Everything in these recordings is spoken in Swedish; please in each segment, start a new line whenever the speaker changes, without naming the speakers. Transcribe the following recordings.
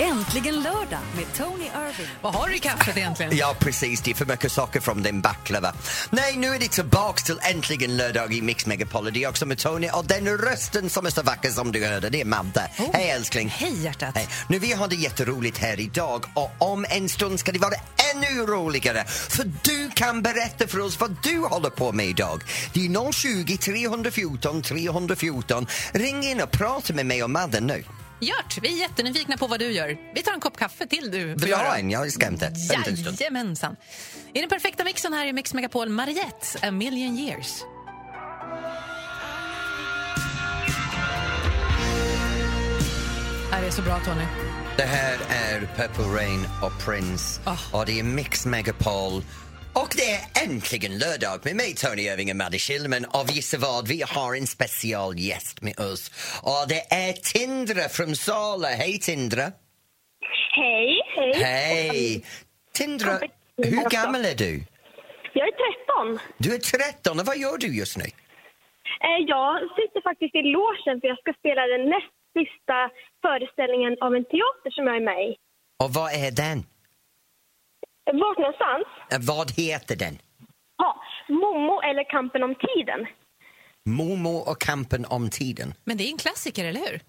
Äntligen lördag med Tony Irving.
Vad har du i kaffet egentligen?
Ja, precis. Det är för mycket saker från din baklava. Nej, nu är det tillbaks till äntligen lördag i Mix Megapol. Det är också med Tony och den rösten som är så vacker som du hörde, det är Madde. Hej älskling!
Hej hjärtat.
Hej. Nu, vi har det jätteroligt här idag och om en stund ska det vara ännu roligare för du kan berätta för oss vad du håller på med idag. Det är 020 314 314. Ring in och prata med mig och Madde nu.
Gjort, vi är jättenyfikna på vad du gör. Vi tar en kopp kaffe till du.
Vill du ha en? Jag har skämtat. Vänta en stund.
Jajamensan. I den perfekta mixen här i Mix Megapol, Mariette, A Million Years. Det här är så bra, Tony.
Det här är Purple Rain och Prince
Ah.
och det är Mix Megapol. Och det är äntligen lördag med mig, Tony Irving och Madde Kihlman. Och gissa vad, vi har en specialgäst med oss. Och det är Tindra från Sala. Hej, Tindra!
Hej, hej.
Hej! Tindra, hur gammal är du?
Jag är 13.
Du är 13 och vad gör du just nu?
Eh, Jag sitter faktiskt i logen för jag ska spela den näst sista föreställningen av en teater som jag är med i.
Och vad är den?
Vart någonstans?
Eh, Vad heter den?
Ja, Momo eller Kampen om tiden.
Momo och kampen om tiden.
Men det är en klassiker, eller hur?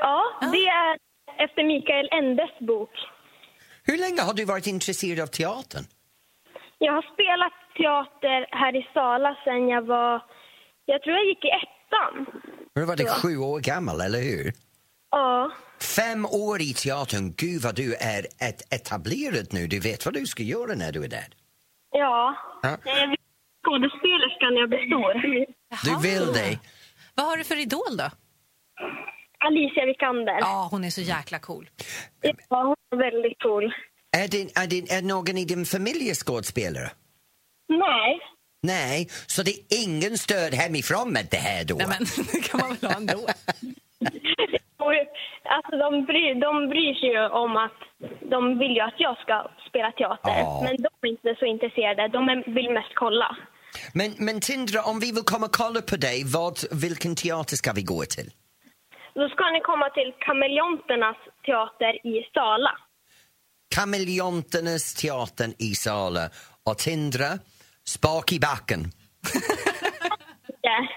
Ja, det är efter Mikael Endes bok.
Hur länge har du varit intresserad av teatern?
Jag har spelat teater här i Sala sen jag var... Jag tror jag gick i ettan.
Du var det sju år gammal, eller hur?
Ja.
Fem år i teatern, gud vad du är ett etablerad nu. Du vet vad du ska göra när du är där.
Ja.
Ja.
Jag vill skådespelerska när jag blir stor.
Du
Jaha.
vill det.
Vad har du för idol, då?
Alicia Vikander.
Ja, hon är så jäkla cool.
Ja, hon är väldigt cool.
Är, din, är, din, är någon i din familj skådespelare?
Nej.
Nej, så det är ingen stöd hemifrån med det här då?
Nej, men det kan man väl ha ändå.
Och, alltså, de, bryr, de bryr sig ju om att de vill ju att jag ska spela teater.
Ja.
Men de är inte så intresserade. De är, vill mest kolla.
men, men Tindra, om vi vill komma och kolla på dig, vad, vilken teater ska vi gå till?
Då ska ni komma till Kameleonternas teater i Sala.
Kameleonternas teatern i Sala. Och Tindra, spak i backen.
Ja.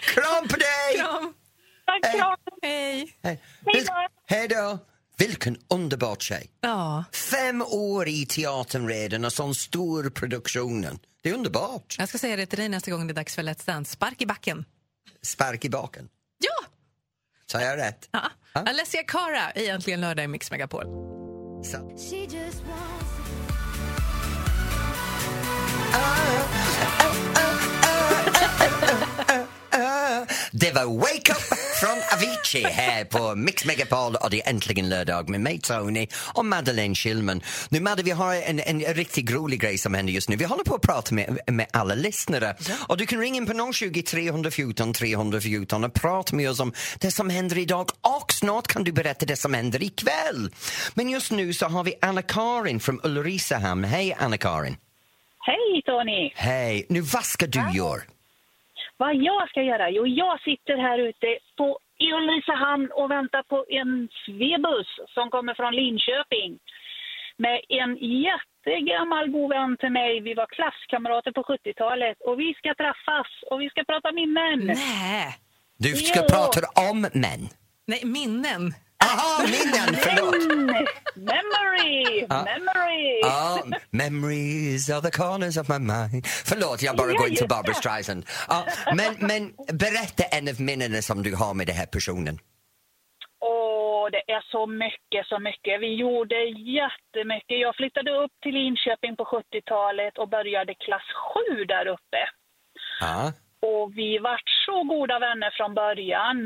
Kram på dig!
Kram.
Tack,
Hej.
kram.
Hej.
Hej.
Hej
Vil-
då.
Hej då! Vilken underbar tjej!
Ja,
Fem år i teatern redan och sån stor produktionen. Det är underbart.
jag ska säga det till dig nästa gång det är dags för Let's Dance. Spark i backen.
Spark i baken.
Ja!
Sa jag rätt?
Ja. Alessia Cara i Äntligen lördag i Mix Megapol.
Så. Det var Wake Up från Avicii här på Mix Megapol och det är äntligen lördag med mig Tony och Madeleine Schillman. Nu Madde, vi har en, en riktigt rolig grej som händer just nu. Vi håller på att prata med, med alla lyssnare och du kan ringa in på 020 314 314 och prata med oss om det som händer idag och snart kan du berätta det som händer ikväll. Men just nu så har vi Anna-Karin från Ulricehamn. Hej Anna-Karin!
Hej Tony!
Hej! Nu vad ska du göra?
Vad jag ska göra? Jo, jag sitter här ute på i Ulricehamn och väntar på en svebuss som kommer från Linköping med en jättegammal god vän till mig. Vi var klasskamrater på 70-talet och vi ska träffas och vi ska prata minnen.
Nej.
Du ska
Jo.
prata om män.
Nej, minnen.
Aha, minnen! Förlåt!
Memory! Memory!
Ja, Ah, memories are the corners of my mind. Förlåt, jag bara
Ja,
går in
just
till Barbara
det.
Streisand. Ja, men, men berätta en av minnena som du har med den här personen.
Åh, det är så mycket, så mycket. Vi gjorde jättemycket. Jag flyttade upp till Linköping på 70-talet och började klass 7 där uppe.
Ja.
Och vi vart så goda vänner från början.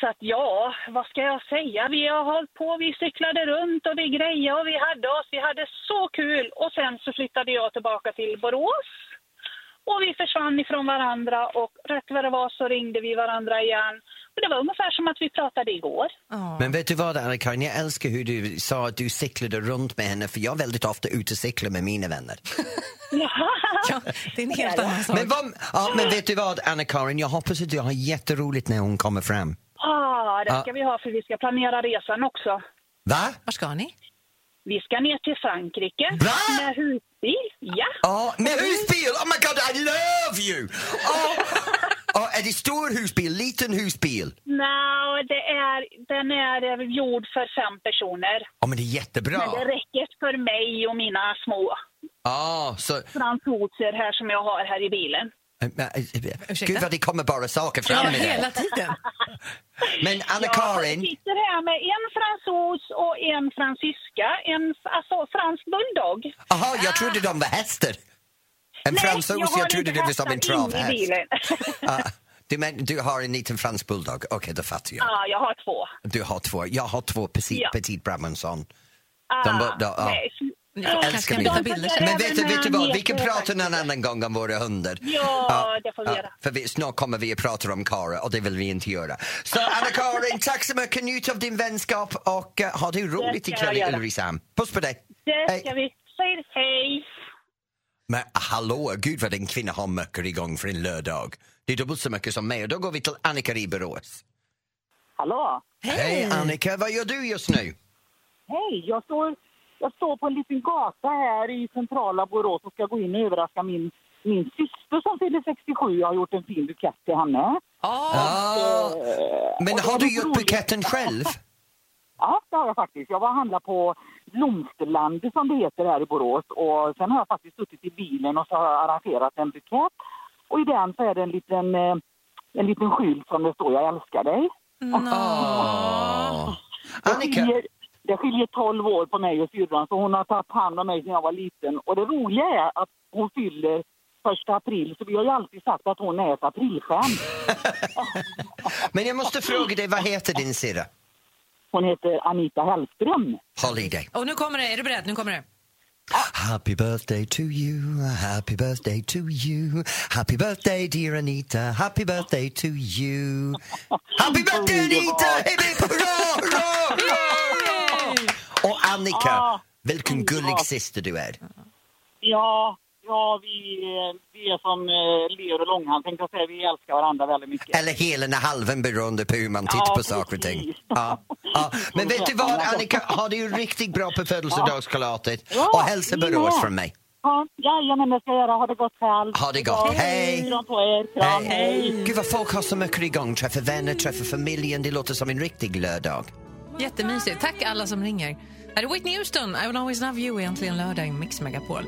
Så att ja, vad ska jag säga? Vi har hållit på, vi cyklade runt och vi grejade och vi hade oss. Vi hade så kul. Och sen så flyttade jag tillbaka till Borås. Och vi försvann ifrån varandra och rätt vad det var så ringde vi varandra igen. Och det var ungefär som att vi pratade igår.
Ja.
Men vet du vad, Anna-Karin, jag älskar hur du sa att du cyklade runt med henne för jag är väldigt ofta ute och cyklar med mina vänner.
Ja, det är en helt annan sak.
Men, vad, ja, men vet du vad, Anna-Karin, jag hoppas att du har jätteroligt när hon kommer fram.
Ah, Ja, det
Ja.
ska vi ha för vi ska planera resan också.
Va?
Var ska ni?
Vi ska ner till Frankrike
Va?
med husbil. Ja,
Ja, med husbil! Oh my god, I love you! Ja, Ja, är det stor husbil, liten husbil?
no, det är, den är eh, gjord för fem personer.
Ja, men det är jättebra.
Men det räcker för mig och mina små
Ja, så...
fransoser här som jag har här i bilen.
men, eh, Gud vad det kommer bara saker
Ja,
fram i det.
hela tiden.
Men
Jag
Anna-Karin,
sitter här med en fransos och en fransyska, en f- alltså, fransk bulldog.
aha, jag trodde de var hästar. En fransos, jag,
har
trodde
inte
det var som en
hästar in i
travhäst.
bilen.
Ja, du, men, du har en liten fransk bulldog, okej då fattar jag.
Ja, jag har två.
Du har två, jag har två petit,
Ja.
petit brahmanson.
Ah,
De bör- de- ja.
nej.
Jag
Ja,
älskar
Älskar
mina
mina.
bilder.
de-
Men vet du,
även
vet du vad, vi kan
heter
prata en
faktiskt-
annan gång om våra hundar.
Ja, det får vi göra.
För vi, snart kommer vi att prata om Kara och det vill vi inte göra. Så Anna-Karin, tack så mycket, njut av din vänskap och uh, ha det roligt
ska jag
ikväll i
göra.
Ulricehamn. Puss på dig!
Det
Hej.
ska vi. Säg hej.
Men hallå, gud vad en kvinna har möcker igång för en lördag. Det är dubbelt så mycket som mig och då går vi till Annika i Borås.
Hallå!
Hej Annika, vad gör du just nu?
Hej! Jag står, jag står på en liten gata här i centrala Borås och ska gå in och överraska min, min syster som fyller 67. Jag har gjort en fin bukett till henne. Eh,
Ah, men
och det
har
är
du
lite
gjort
roligt.
buketten själv?
Ja, det har jag faktiskt. Jag var och handlade på Blomsterlandet som det heter här i Borås. Och sen har jag faktiskt suttit i bilen och så har jag arrangerat en bukett. Och i den så är det en liten, eh, en liten skylt som det står Jag älskar dig.
Ah.
Det
Annika,
skiljer, det skiljer 12 år på mig och syrran, så hon har tagit hand om mig sedan jag var liten. Och det roliga är att hon fyller första april, så vi har ju alltid sagt att hon är ett aprilskämt.
men jag måste fråga dig, vad heter din syrra?
Hon heter Anita Hellström.
Håll i dig.
Och nu kommer det. Är du beredd? Nu kommer det.
Happy birthday to you, happy birthday to you, happy birthday dear Anita, happy birthday to you. Happy birthday Anita! Hipp, hipp, hurra, hurra, hurra! Och Annika,
Ah.
vilken
Ja.
gullig syster du är.
Ja, ja vi, eh, vi är som eh, ler och långhand, tänkte jag säga. Vi älskar varandra väldigt mycket.
Eller hela eller halven beroende på hur man tittar
Ja,
på saker och ting.
precis.
Ja. Ja. Men vet du vad Annika, ha det ju riktigt bra på födelsedagskalaset
Ja,
och hälsa
ni
Borås
med.
från mig.
Ja, jajamän, det ska jag göra. Ha det gott själv.
Ha det gott.
Ja,
Hej.
Kram på er. Kram.
Gud vad folk har så mycket igång, träffa vänner, träffa familjen, det låter som en riktig lördag.
Jättemysigt. Tack alla som ringer. Här är Whitney Houston, I will always love you, egentligen lördag i Mix Megapol.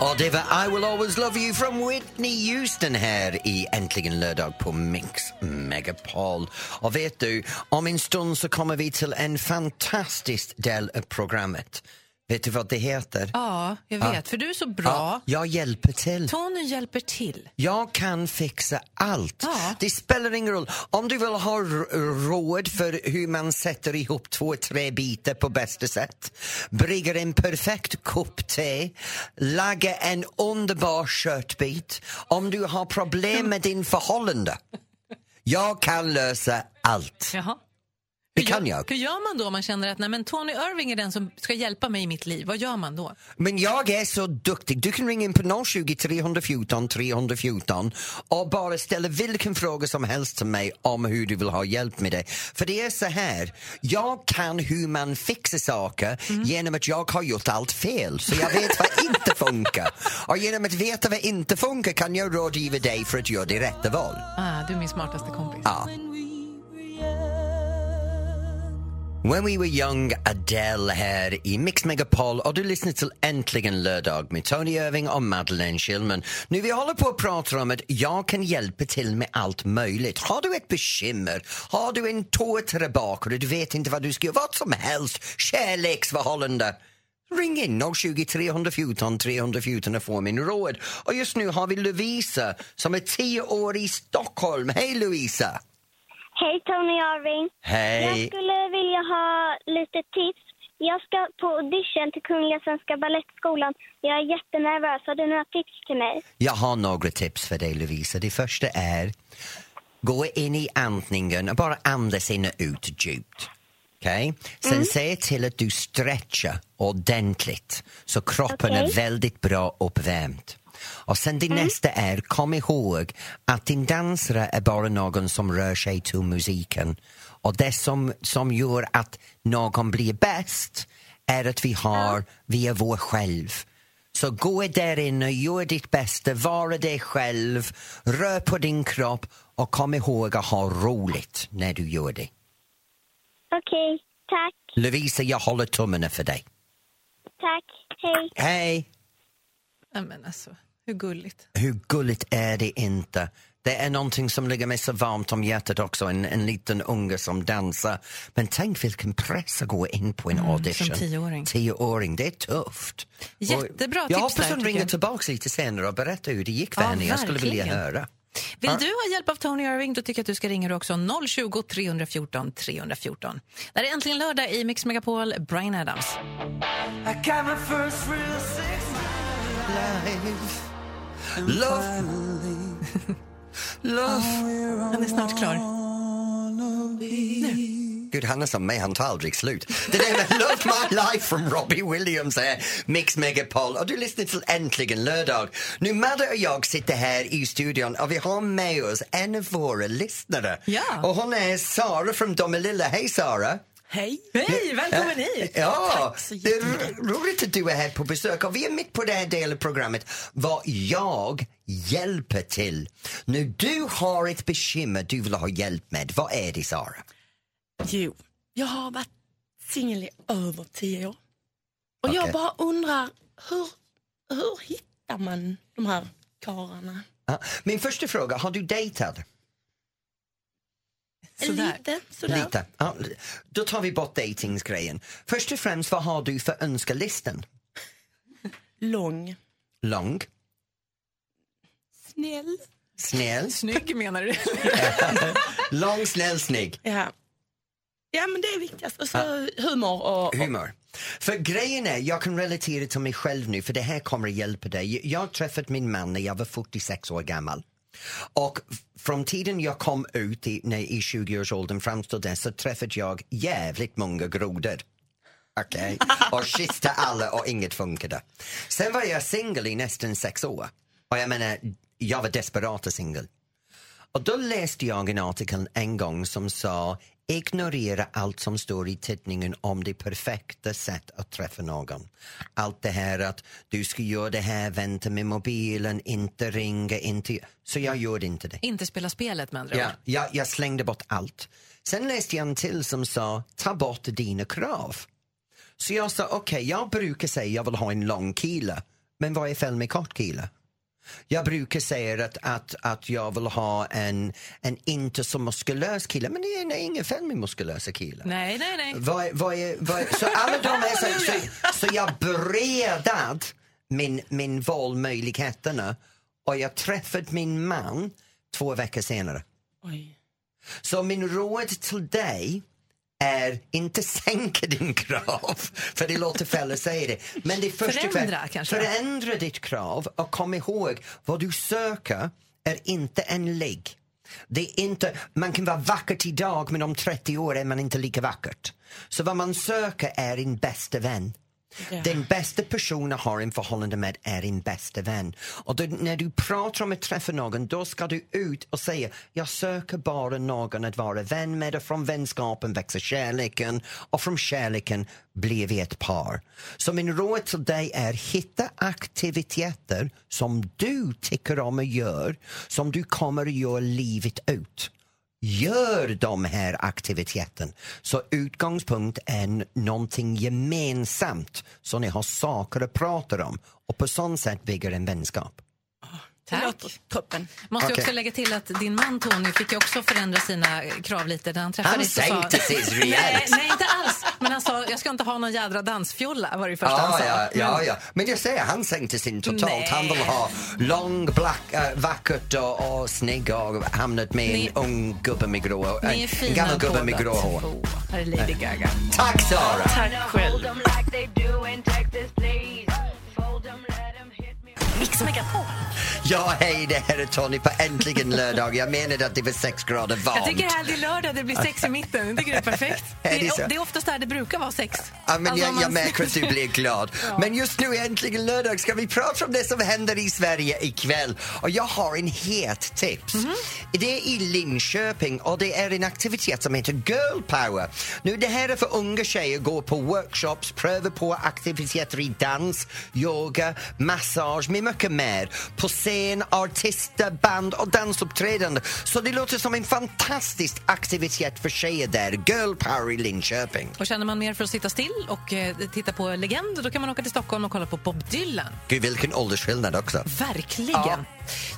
Och det var I will always love you from Whitney Houston här i Äntligen lördag på Mix Megapol. Och vet du, om en stund så kommer vi till en fantastisk del av programmet. Vet du vad det heter?
Ja, jag vet, för du är så bra.
jag hjälper till.
Tony hjälper till.
Jag kan fixa allt.
Ja.
Det spelar ingen roll. Om du vill ha r- råd för hur man sätter ihop två, tre bitar på bästa sätt, brygger en perfekt kopp te, lagar en underbar köttbit, om du har problem med din förhållande. Jag kan lösa allt.
Jaha.
Det kan jag.
Hur gör man då om man känner att nej, men Tony Irving är den som ska hjälpa mig i mitt liv? Vad gör man då?
Men jag är så duktig. Du kan ringa in på 020 314 314 och bara ställa vilken fråga som helst till mig om hur du vill ha hjälp med det. För det är så här, jag kan hur man fixar saker genom att jag har gjort allt fel. Så jag vet vad inte funkar. Och genom att veta vad inte funkar kan jag rådgiva dig för att göra det rätta val.
Ah, du är min smartaste kompis.
Ja. When we were young, Adele här i Mix Megapol och du lyssnar till Äntligen lördag med Tony Irving och Madeleine Schillman. Nu vi håller på att prata om att jag kan hjälpa till med allt möjligt. Har du ett bekymmer, har du en tårtrebakare, du vet inte vad du ska göra, vad som helst, kärleksförhållande. Ring in 020 314 314 och få min råd. Och just nu har vi Lovisa som är 10 år i Stockholm. Hej Lovisa!
Hej Tony Irving. Jag
Hej!
skulle vilja ha lite tips. Jag ska på audition till Kungliga Svenska Balettskolan. Jag är jättenervös. Har du några tips till mig?
Jag har några tips för dig Lovisa. Det första är, gå in i andningen och bara andas in och ut djupt. Okej? Sen se till att du stretchar ordentligt så kroppen är
Okej.
väldigt bra uppvärmd. Och sen det nästa är, kom ihåg att din dansare är bara någon som rör sig till musiken. Och det som, som gör att någon blir bäst är att vi har, vi är vår själv. Så gå där inne, gör ditt bästa, vara dig själv, rör på din kropp och kom ihåg att ha roligt när du gör det.
Okej, tack,
Lovisa, jag håller tummarna för dig.
tack, hej.
Hej!
Nej, men alltså, hur gulligt.
Hur gulligt är det inte? Det är någonting som ligger mig så varmt om hjärtat också, en, en liten unge som dansar. Men tänk vilken press att gå in på en audition.
Mm, som tioåring.
Tioåring, det är tufft.
Jättebra
Jag
tips
hoppas
där,
hon
tycker
ringer
jag.
tillbaka lite senare och berättar hur det gick för
Ja,
henne. Jag skulle vilja
verkligen.
höra.
Vill
Ja.
du ha hjälp av Tony Irving då tycker jag att du ska ringa då också 020 314 314. Det här är äntligen lördag i Mix Megapol, Brian Adams.
Love, love.
Han är snart klar.
Gud, han är som mig, han tar aldrig slut. Det där med Love My Life från Robbie Williams är Mix Megapol och du lyssnar till Äntligen lördag. Nu Madde och jag sitter här i studion och vi har med oss en av våra lyssnare.
Ja.
Och hon är Sara från Domelilla. Hej Sara!
Hej!
Hej, välkommen hit!
Ja,
Tack så
det är ro- roligt att du är här på besök och vi är mitt på det här delen av programmet vad jag hjälper till. När du har ett bekymmer du vill ha hjälp med, vad är det Sara?
Jo, jag har varit singel i över tio år. Och jag
Okej.
bara undrar, hur, hur hittar man de här karlarna?
Ja, Min första fråga, har du dejtat?
Sådär.
Lite, sådär.
Lite. Ja, då tar vi bort dejtingsgrejen. Först och främst, vad har du för önskelistan?
Lång.
Lång,
Snäll.
snäll,
Snygg menar du?
lång, snäll, snygg.
Ja. ja, men det är viktigast. Och så humor och... och
Humor. För grejen är, jag kan relatera till mig själv nu för det här kommer att hjälpa dig. Jag har träffat min man när jag var 46 år gammal. Och f- från tiden jag kom ut i, när, i 20-årsåldern fram till dess så träffade jag jävligt många grodor. Okej? Och kysste alla och inget funkade. Sen var jag singel i nästan sex år. Och jag menar, jag var desperat singel. Och då läste jag en artikel en gång som sa ignorera allt som står i tidningen om det perfekta sätt att träffa någon. Allt det här att du ska göra det här, vänta med mobilen, inte ringa, inte... Så jag gjorde inte det.
Inte spela spelet med andra
Ja,
ord.
jag, jag slängde bort allt. Sen läste jag en till som sa ta bort dina krav. Så jag sa okej, jag brukar säga jag vill ha en lång kille. Men vad är fel med kort kille? Jag brukar säga att, att, att jag vill ha en, en inte så muskulös kille. Men det är, det är inget fel med muskulösa killar.
Nej, nej, nej.
Vad, är- vad är, vad är, så alla de är så, så, så jag bredad min, min valmöjligheterna och jag träffade min man två veckor senare.
Oj.
Så min råd till dig är inte sänka din krav, för det låter fel att säga det. Men det är först och
Förändra,
främst-
kanske.
Förändra ditt krav och kom ihåg, vad du söker är inte en ligg. Det är inte, man kan vara vackert idag men om 30 år är man inte lika vackert. Så vad man söker är din bästa vän. Den bästa personen har en förhållande med är din bästa vän. Och då, när du pratar om att träffa någon, då ska du ut och säga jag söker bara någon att vara vän med och från vänskapen växer kärleken och från kärleken blir vi ett par. Så min råd till dig är hitta aktiviteter som du tycker om att göra, som du kommer att göra livet ut gör de här aktiviteten. Så utgångspunkt är n- någonting gemensamt så ni har saker att prata om och på sån sätt bygger en vänskap.
Det
Tack.
låter toppen.
Måste jag
Okej.
också lägga till att din man Tony fick ju också förändra sina krav lite när han träffade
Han
dig så sa-
sänkte sig
Nej,
rejält.
nej, inte alls. Men han sa, jag ska inte ha någon jädra dansfjolla var det första han
Ja,
sa. Mm.
ja, ja, ja. Men jag säger, han sänkte sin totalt.
Nej.
Han vill ha lång, black, äh, vackert och, och snygg och hamnat med
Ni-
en ung gubbe med grå, en,
Ni är
en
fina
gammal gubbe med
båda
grå hår.
två. Här är Lady Gaga.
Tack Sara!
Tack själv.
Mix Megapol.
Ja, hej, det här är Tony på Äntligen lördag. Jag menade att det var sex grader varmt.
Jag tycker helg är lördag, det blir sex i mitten. Jag tycker det är perfekt.
Är det
Det
så?
är, det är oftast där det brukar vara sex.
Ja, men
Alltså, om
jag, jag
man-
märker att du blir glad. Men just nu är äntligen lördag. Ska vi prata om det som händer i Sverige ikväll? Och jag har en het tips.
Mhm.
Det är i Linköping och det är en aktivitet som heter Girl Power. Nu, det här är för unga tjejer. Gå på workshops, pröva på aktiviteter i dans, yoga, massage med mycket mer. På scen, artister, band och dansuppträdande. Så det låter som en fantastisk aktivitet för tjejer där. Girl Power i Linköping.
Och känner man mer för att sitta still och eh, titta på legender då kan man åka till Stockholm och kolla på Bob Dylan.
Gud, vilken åldersskillnad också.
Verkligen.
Ja.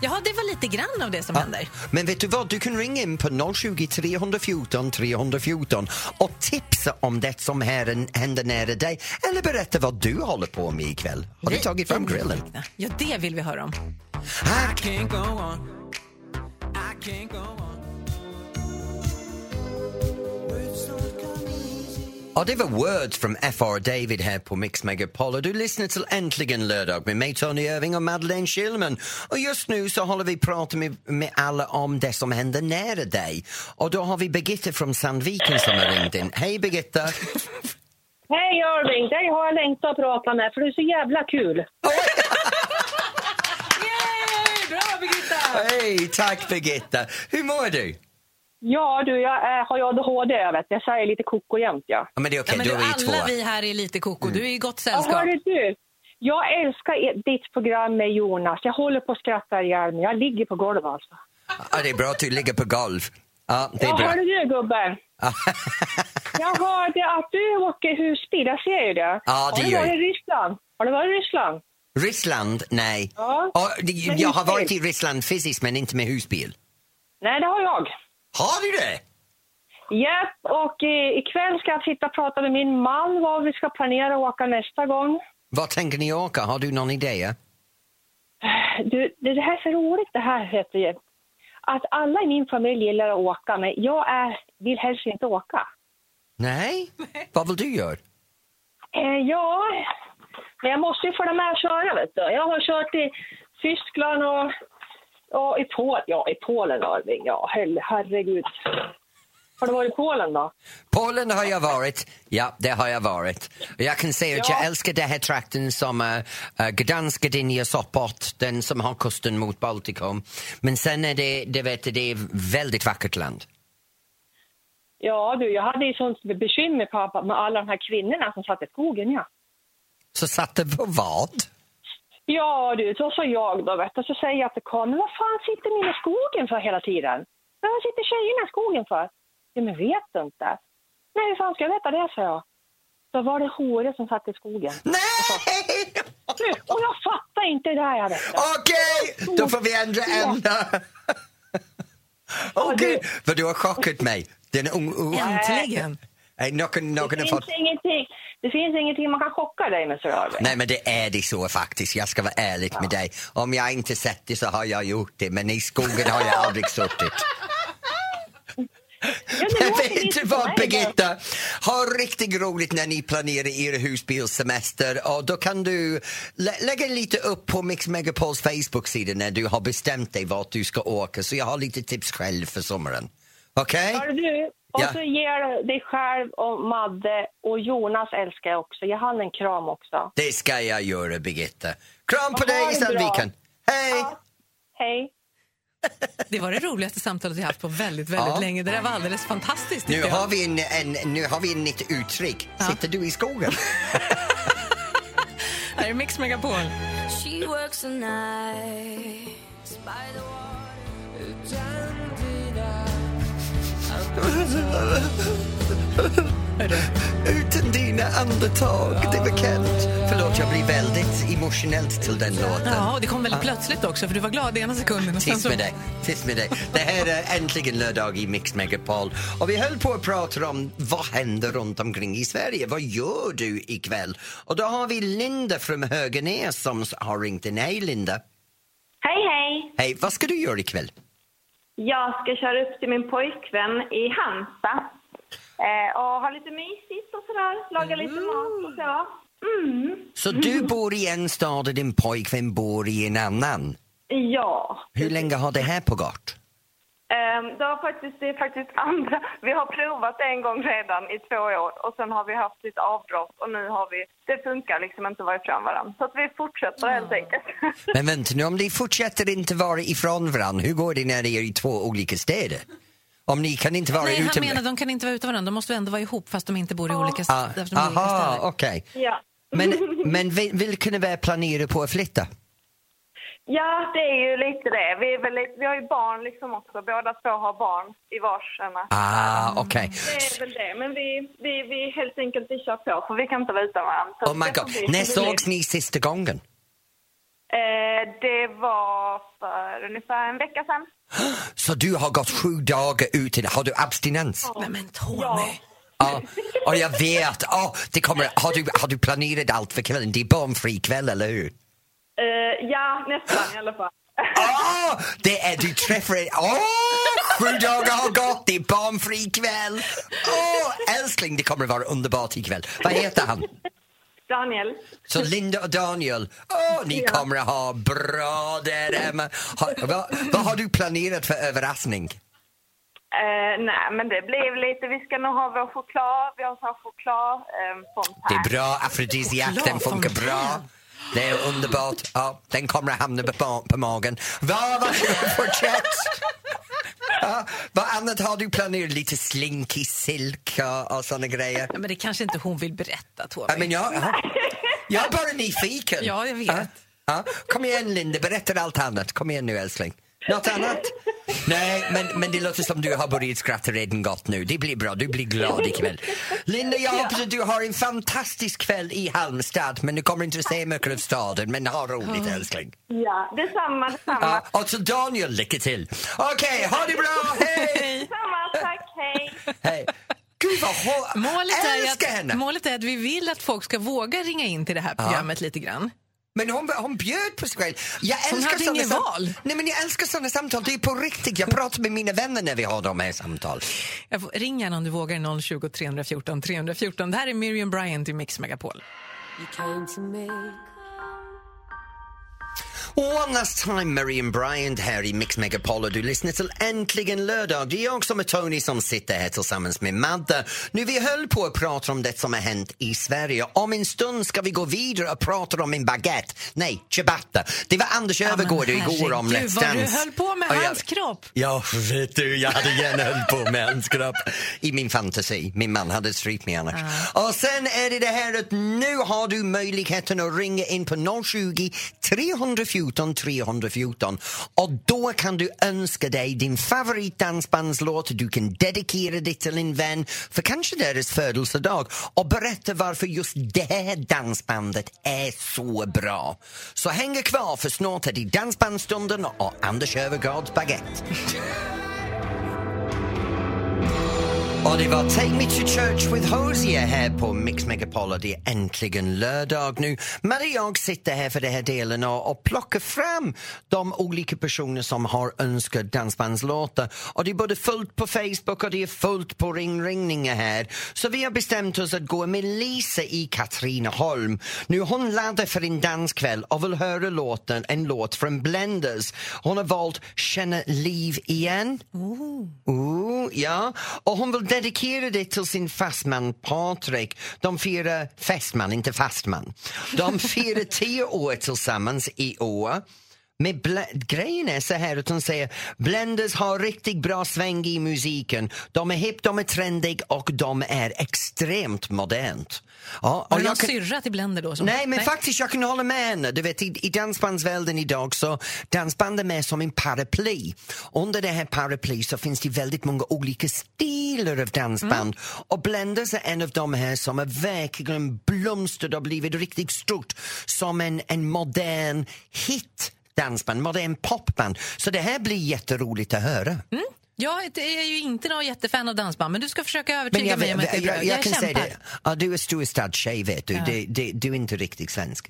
Jaha, det var lite grann av det som händer.
Men vet du vad, du kan ringa in på 020 314 314 och tipsa om det som här händer nära dig eller berätta vad du håller på med ikväll. Har du tagit fram grillen?
Ja, det vill vi höra om.
Här Ja, det var Words from F.R. David här på Mix Megapol och du lyssnar till Äntligen lördag med mig Tony Irving och Madeleine Schillman. Och just nu så håller vi prata med, med alla om det som händer nära dig. Och då har vi Birgitta från Sandviken som har ringt in. Hej Birgitta!
Hej Irving, dig har jag längtat att prata med för du är så jävla kul.
Yay! Bra, Birgitta!
Hej, tack Birgitta! Hur mår du?
Ja du, jag är, har ju ADHD jag vet. Jag säger lite koko jämt ja.
Ja, men det är
Ja,
okej,
men du,
då är vi Mm.
alla
två.
vi här är lite koko. Du är i gott
Ja,
sällskap.
hörru du, jag älskar er- ditt program med Jonas. Jag håller på att skratta ihjäl mig. Jag ligger på golvet alltså.
Ja, det är bra att du ligger på golv. Ja, det är
Ja,
bra.
hörru du gubben. Jag hörde att du åker husbil, jag ser ju det.
Ja, det
har du
gör
varit
jag.
i Ryssland? Har du varit i Ryssland?
Ryssland? Nej.
Ja.
Och, det-
Men
jag har
husbil.
varit i Ryssland fysiskt men inte med husbil.
Nej, det har jag.
Har du det?
Japp, och eh, ikväll ska jag sitta och prata med min man vad vi ska planera att åka nästa gång.
Vad tänker ni åka? Har du någon idé?
Du, det det här är så roligt det här heter ju. Att alla i min familj gillar att åka, men jag är, vill helst inte åka.
Nej? Vad vill du göra?
Eh, ja, men jag måste ju få dem här att köra. Vet du. Jag har kört i Tyskland och, och i, Pol- ja, i Polen, Arving. Ja, hell- herregud. Har du varit i Polen då?
Polen har jag varit. Ja, det har jag varit. Jag kan säga att
Ja.
jag älskar den här trakten som uh, uh, Gdansk, Gdynia, Sopot, den som har kusten mot Baltikum. Men sen är det, det vet du, det är väldigt vackert land.
Ja, du, jag hade ju sånt bekymmer pappa, med alla de här kvinnorna som satt i skogen. Ja,
Så satte på vad?
ja du, så sa jag då. Vet du, så säger jag till Karin, vad fan sitter ni i skogen för hela tiden? Men vad sitter tjejerna i skogen för? Ja, men vet du inte? Nej, hur fan ska jag veta det, sa jag. Då var det horor som satt i skogen.
Nej!
Du, och jag fattar inte det här. Jag vet.
Okej, då får vi ändra ämne. Åh gud, vad du har chockat mig. Den ung... ung-
Äntligen.
Nej, Någon, någon
Det
har
finns,
fått...
ingenting, det finns ingenting man kan chocka dig med, Sir Arvin.
Nej men det är det så faktiskt, jag ska vara ärlig med dig. Om jag inte sett det så har jag gjort det, men i skogen har jag aldrig suttit.
Ja, det
Men
låter
vet
lite
du
som
vad
mig,
Birgitta? Ha riktigt roligt när ni planerar er husbilsemester och då kan du lä- lägga lite upp på Mix Megapols Facebook-sida när du har bestämt dig vart du ska åka så jag har lite tips själv för sommaren. Okej?
men- Hör du, och
Ja.
så ger du dig själv och Madde och Jonas älskar jag också. Ge han en kram också.
Det ska jag göra Birgitta. Kram på
Ha
dig i
det bra.
Sandviken. Hej!
Hej.
Det var det roligaste samtalet vi haft på väldigt, väldigt
Ja.
länge. Det där var alldeles fantastiskt.
Nu
tycker jag.
har, vi en, en, nu har vi en nytt uttryck. Sitter du i skogen?
Här är Mix Megapol.
She works a night by the
Utan dina andetag, det var Kent. Förlåt, jag blir väldigt emotionellt till den låten.
Ja, och det kom väldigt plötsligt också, för du var glad i ena sekunden. Och sen
Tyst
så...
med dig, tyst med dig. Det här är äntligen lördag i Mix Megapol och vi höll på att prata om vad händer runt omkring i Sverige. Vad gör du ikväll? Och då har vi Linda från Höganäs som har ringt in. Hej Linda!
Hej, hej!
Hej, vad ska du göra ikväll?
Jag ska köra upp till min pojkvän i Halmstad eh, och ha lite mysigt och sådär. Laga lite mat och så.
Mm.
Så
Mm.
du bor i en stad och din pojkvän bor i en annan.
Ja.
Hur länge har det här pågått?
Ehm, Det, har faktiskt, det är faktiskt andra. Vi har provat en gång redan i två år och sen har vi haft lite avbrott och nu har vi... Det funkar liksom inte att vara ifrån varandra. Så att vi fortsätter helt enkelt.
Men vänta nu, om ni fortsätter inte vara ifrån varandra, hur går det när ni är i två olika städer? Om ni kan inte vara Ah,
Nej,
ute...
han menar de kan inte vara utan varandra. De måste ändå vara ihop fast de inte bor i olika,
Ah,
st- eftersom de är olika
aha,
städer.
okej.
ja.
Men, men vi- vilken av er planerar på att flytta?
ja, det är ju lite det. Vi, är väl lite, vi har ju barn liksom också. Båda två har barn i varsena.
Ah, okej.
Det är väl det, men vi, vi, vi helt enkelt vi kör på för vi kan inte vara utan varandra. Så
Oh my
det får bli
god, när
som det
sågs
blir.
ni sista gången?
Eh, det var för ungefär en vecka sedan.
Så du har gått sju dagar utan... Har du abstinens?
Nej men Tony.
Ja, och jag vet. Ja, det kommer, har, du, har du planerat allt för kvällen? Det är barnfri kväll, eller hur?
Eh, ja, nästan i alla fall.
Ah, det är, du träffar en... Åh, sju dagar har gått, det är barnfri kväll. Åh, älskling, det kommer att vara underbart ikväll. Vad heter han?
Daniel.
Så Linda och Daniel, åh, ni kommer att ha bra där hemma. Ha, vad, vad har du planerat för överraskning?
Eh, nej, men det blev lite... Vi ska nog ha vår choklad. Vi har så här choklad eh, från
Det är
Per.
bra, afrodisiak, den
Choklad
funkar
från
bra.
Kina.
Det är underbart. Ja, den kommer att hamna på, ma- på magen. Vad var fortsätt? Ja, vad annat har du planerat? Lite slinky silk och, och såna grejer?
Ja, men det kanske inte hon vill berätta Tony.
Ja, men jag, ja. jag är bara nyfiken.
Ja, jag vet.
Ja, ja. Kom igen, Linda. Berätta allt annat. Kom igen nu, älskling. Något annat? Nej, men, men det låter som du har börjat skratta redan gott nu. Det blir bra. Du blir glad ikväll. Linda, jag hoppas att du har en fantastisk kväll i Halmstad. Men du kommer inte se mycket av staden. Men ha roligt, älskling.
Ja, detsamma, detsamma.
Ja, och så Daniel, lycka till. Okej, ha det bra. Hej!
Detsamma, tack, hej.
Hej. Gud, vad hår...
Målet är,
Älskar
att,
henne!
målet är att vi vill att folk ska våga ringa in till det här programmet lite grann.
Men hon, hon bjöd på sig själv. Jag
Hon
älskar
hade
såna
inget
sam-
val.
Nej, men jag älskar sådana samtal. Det är på riktigt. Jag pratar med mina vänner när vi har de här samtal.
Jag får, ring gärna om du vågar 020 314 314. Det här är Miriam Bryant i Mix Megapol.
You came to me.
One last time, Miriam Bryant här i Mix Megapol och du lyssnar till Äntligen lördag. Det är jag som är Tony som sitter här tillsammans med Madde. Nu vi höll på att prata om det som har hänt i Sverige. Om en stund ska vi gå vidare och prata om en baguette. Nej, ciabatta. Det var Anders Öfvergård igår om
herregud,
Let's
vad du
Dance.
höll på med
Och jag-
hans kropp.
Ja, vet du, jag hade gärna höll på med hans kropp i min fantasi. Min man hade strykt mig annars. Och sen är det det här att nu har du möjligheten att ringa in på 020 314 314 och då kan du önska dig din favoritdansbandslåt, du kan dedikera det till en vän för kanske deras födelsedag och berätta varför just det här dansbandet är så bra. Så häng kvar för snart är det Dansbandsstunden och Anders Öfvergårds baguette. Och det var Take Me To Church with Hosier här på Mix Megapol och det är äntligen lördag nu. Maria och jag sitter här för den här delen och, och plockar fram de olika personer som har önskat dansbandslåtar. Och det är både fullt på Facebook och det är fullt på ringringningar här. Så vi har bestämt oss att gå med Lisa i Katrineholm. Nu hon laddar för en danskväll och vill höra låten, en låt från Blenders. Hon har valt Känna liv igen. Ooh, ja. Och hon vill dedikera det till sin fastman Patrik. De firar fästman, inte fastman. De firar tio år tillsammans i år. Men bl- grejen är så här att hon säger Blenders har riktigt bra sväng i musiken. De är hip, de är trendig och de är extremt modernt. Ja, och
Har du någon
jag kan-
syrra till Blender då? Som,
Nej, men faktiskt, jag kan hålla med henne. Du vet, i, I dansbandsvärlden idag så dansband är mer som en paraply. Under det här paraply så finns det väldigt många olika stilar av dansband
Mm.
och Blenders är en av de här som har verkligen blomstrat och blivit riktigt stort som en, en modern hit dansband, modern popband. Så det här blir jätteroligt att höra.
Jag är ju inte någon jättefan av dansband, men du ska försöka övertyga mig om att det är bra. Jag,
jag, jag kan
kämpar.
säga det. Ja, du är storstadstjej, vet du. Du, du. du är inte riktigt svensk.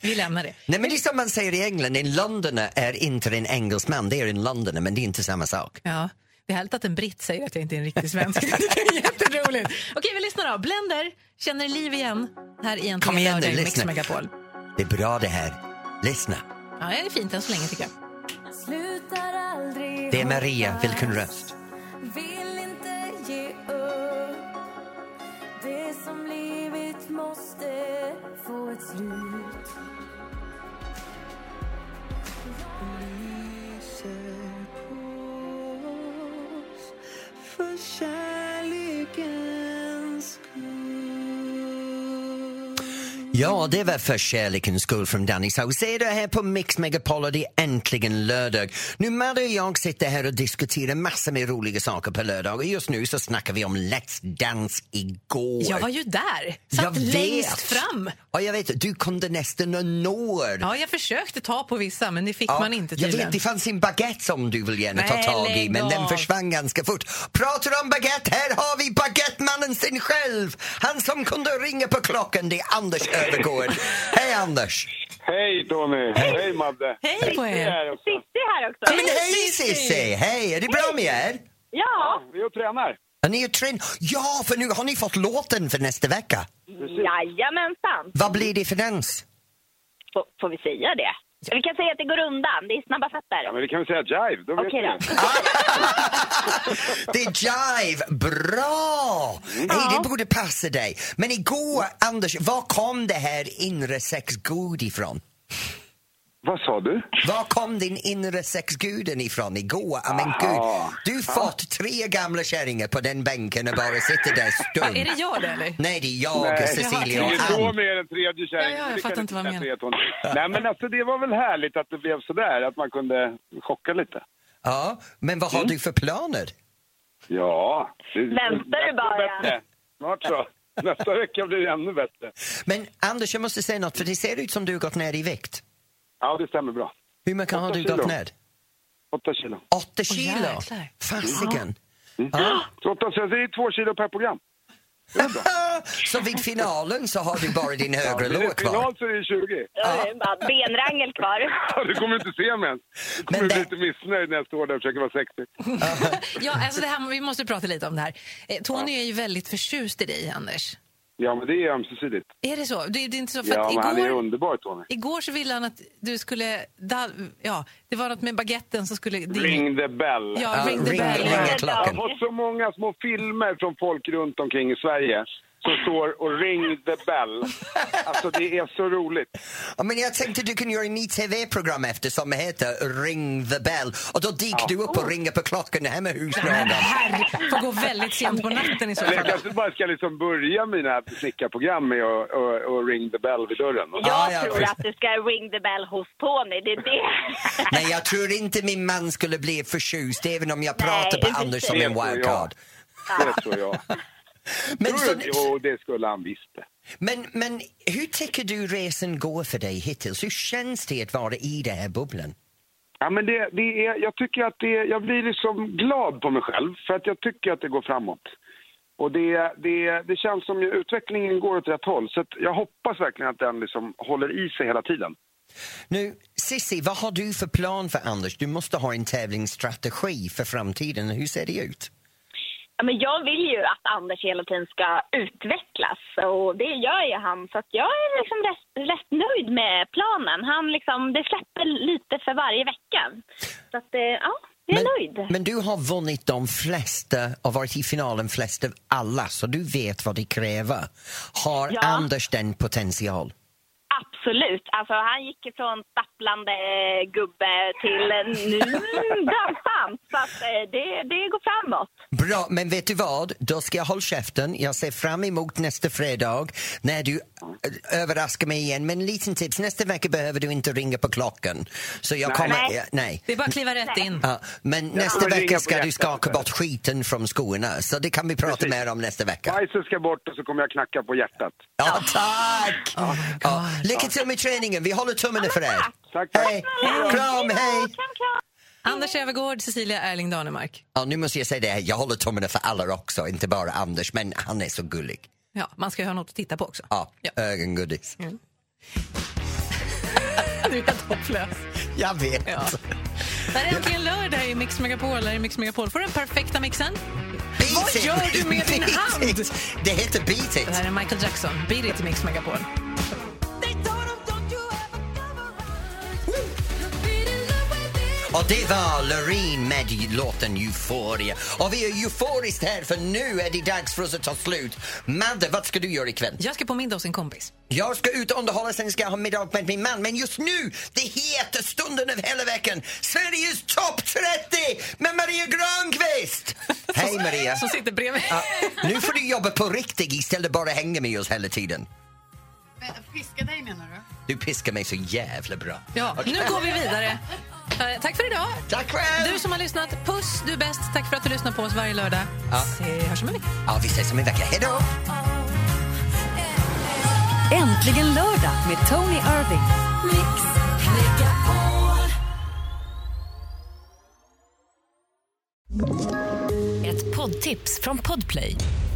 Vi lämnar det.
Nej men det är som man säger i England, en londoner är inte en engelsman, det är en londoner men det är inte samma sak.
Ja. Det är härligt att en britt säger att jag inte är en riktig svensk. Det är jätteroligt. Okej, vi lyssnar då. Blender, känner liv igen. Här i Äntligen
Kom igen nu,
lördag i Mix
lyssna.
Megapol.
Det är bra det här. Lyssna.
Ja, det är fint än så länge tycker jag.
Slutar aldrig
Det är Maria, vilken röst.
Vill inte ge upp Det som livet måste få ett slut
För kärlekens
Ja, det var för kärlekens skull från Danny Saucedo här på Mix Megapol och det är äntligen lördag. Nu Madde och jag sitter här och diskuterar massor med roliga saker på lördag och just nu så snackar vi om Let's Dance igår.
Jag var ju där,
Jag
satt
vet.
längst fram.
Ja, jag vet, du kunde nästan nå er.
Ja, jag försökte ta på vissa, men det fick
Ja,
man inte
jag
tydligen.
vet, det fanns en baguette som du vill gärna
Nej,
ta tag i
lägg
men den
av.
försvann ganska fort. Pratar om baguette, här har vi baguettemannen sin själv! Han som kunde ringa på klockan, det är Anders Övergård. Hej Anders!
Hej Tony! Hej, Madde!
Hej på er.
här också.
Sissi här också.
Ja, men hej Cissi! Hej, är det bra med er?
Ja,
Vi är och tränar.
Har ni gjort träning? Ja, för nu har ni fått låten för nästa vecka.
jajamensan.
Vad blir det för dans?
Får, får vi säga det? Vi kan säga att det går undan. Det är snabba fötter.
Ja, men vi kan väl säga jive, då vet
Okej
ni.
då.
Det är jive! Bra!
Mm.
Hej, det borde passa dig. Men igår, Anders, var kom det här inre sexgud ifrån?
Vad sa du?
Var kom din inre sexguden ifrån igår? Ja, Men gud,
Aha.
du fått tre gamla kärringar på den bänken och bara sitter där stum.
Är det jag det eller?
Nej, det är jag,
det
Cecilia och
är då
Ann.
med den tredje kärringen.
Ja, ja, jag
Det kan
fattar inte vad jag
säga, Tony. Nej, men alltså det var väl härligt att det blev sådär, att man kunde chocka lite.
Ja, men vad har
Mm.
du för planer?
Ja. Det,
Väntar du bara?
Bättre. Snart så. Nästa vecka blir det ännu bättre.
Men Anders, jag måste säga något, för det ser ut som du har gått ner i vikt.
Ja, det stämmer bra.
Hur mycket har
Åtta
du
kilo.
gått ner?
Åtta kilo.
Åtta kilo?
jäklar.
Fasiken!
Så åtta, så det är två kilo per program.
så vid finalen så har du bara din
Ja,
högra
men
lår
i
kvar.
final så är det 20.
Då är det bara benrangel kvar.
Ja, Du kommer inte se mig ens. Du kommer
Men
bli
det-
lite missnöjd nästa år när jag försöker vara sexig.
Ja, alltså det här, vi måste prata lite om det här. Eh, Tony är ju väldigt förtjust i dig, Anders.
Ja, men det är ömsesidigt.
Är det så? Det, det är inte så för
Ja,
att
men han är
igår,
underbar,
Mm.
Tony.
igår så ville han att du skulle... Da, ja, det var något med baguetten som skulle... din-
Ring the bell.
Ja,
Ja,
ring the
ring-
bell.
ring
Jag har
klockan.
fått så många små filmer från folk runt omkring i Sverige som står och ring the bell. Alltså, det är så roligt.
Ja, men jag tänkte du kunde göra en ny tv-program efter som heter Ring the bell och då dyker du upp och ringer på klockan hemma hos någon.
Herre, får gå väldigt sent på natten i så
Eller jag
fall.
kanske bara ska liksom börja mina snickarprogram med att och, och ring the bell vid dörren.
Ja,
Jag
ja,
tror
precis.
att du ska ring the bell hos Tony. Det är det.
Nej, jag tror inte min man skulle bli förtjust även om jag
Nej,
pratar
precis.
på Anders som en
Det tror jag.
wildcard.
Det tror jag.
Men,
Tror
så,
du? Jo, det skulle han visst.
men, men hur tycker du resan går för dig hittills? Hur känns det att vara i den här bubblan?
Ja, men det, det är, jag tycker att det, är- jag blir liksom glad på mig själv för att jag tycker att det går framåt. Och det, det, det känns som ju utvecklingen går åt rätt håll så att jag hoppas verkligen att den liksom håller i sig hela tiden.
Nu, Sissi, vad har du för plan för Anders? Du måste ha en tävlingsstrategi för framtiden. Hur ser det ut?
Ja, Men jag vill ju att Anders hela tiden ska utvecklas och det gör ju han. Så att jag är liksom rätt, rätt nöjd med planen. Han liksom, det släpper lite för varje vecka. Så att, eh, ja, jag är nöjd.
men du har vunnit de flesta och varit i finalen flest av alla, så du vet vad det kräver. Har
Ja.
Anders den potential?
Absolut. Alltså, han gick ju från stapplande eh, gubbe till eh, nu dansant. Så att, eh, det, det går framåt.
Bra, men vet du vad? Då ska jag hålla käften. Jag ser fram emot nästa fredag när du eh, överraskar mig igen. Men en liten tips, nästa vecka behöver du inte ringa på klockan. Så jag
Nej.
kommer...
Nej.
ja, Nej.
Det är bara att kliva rätt in.
Ja, men nästa
kommer ringa
vecka
på
ska du
hjärtat
skaka
istället.
bort skiten från skorna, så det kan vi prata
Precis.
mer om nästa vecka.
Bajset ska bort och så kommer jag knacka på hjärtat.
Ja, tack! ja, lycka till med träningen, vi håller tummarna för er.
Tack, tack.
Hej! Kram, hej!
Anders Övergård, Cecilia Erling Danemark.
Ja, nu måste jag säga det, här. jag håller tummarna för alla också, inte bara Anders, men han är så gullig.
Ja, man ska ju ha något att titta på också.
Ja, ögongodis.
Mm. Du är helt hopplös.
Jag vet.
Ja. Det här är äntligen lördag i Mix Megapol. Här i Mix Megapol får du den perfekta mixen.
Beat
Vad
it.
gör du med din
Beat
hand?
it. Det heter Beat it.
Det här är Michael Jackson. Beat it i Mix Megapol.
Och det var Loreen med låten Euphoria. Och vi är euforiskt här för nu är det dags för oss att ta slut. Madde, vad ska du göra ikväll?
Jag ska på middag hos en kompis.
Jag ska ut och underhålla, sen ska jag ha middag med min man. Men just nu, det heter stunden av hela veckan. Sveriges topp 30 med Maria Granqvist! Hej Maria!
Som sitter bredvid.
Ja, nu får du jobba på riktigt istället bara hänga med oss hela tiden.
äh, Piska dig menar du?
Du piskar mig så jävla bra.
Ja,
Okej.
nu går vi vidare. Eh, Tack för idag.
Tack själv.
Du som har lyssnat, puss, du är bäst. Tack för att du lyssnar på oss varje lördag.
Ja.
Vi hörs om en vecka.
Ja, vi ses om en vecka. Hej då!
Äntligen lördag med Tony Irving.
Ett poddtips från Podplay.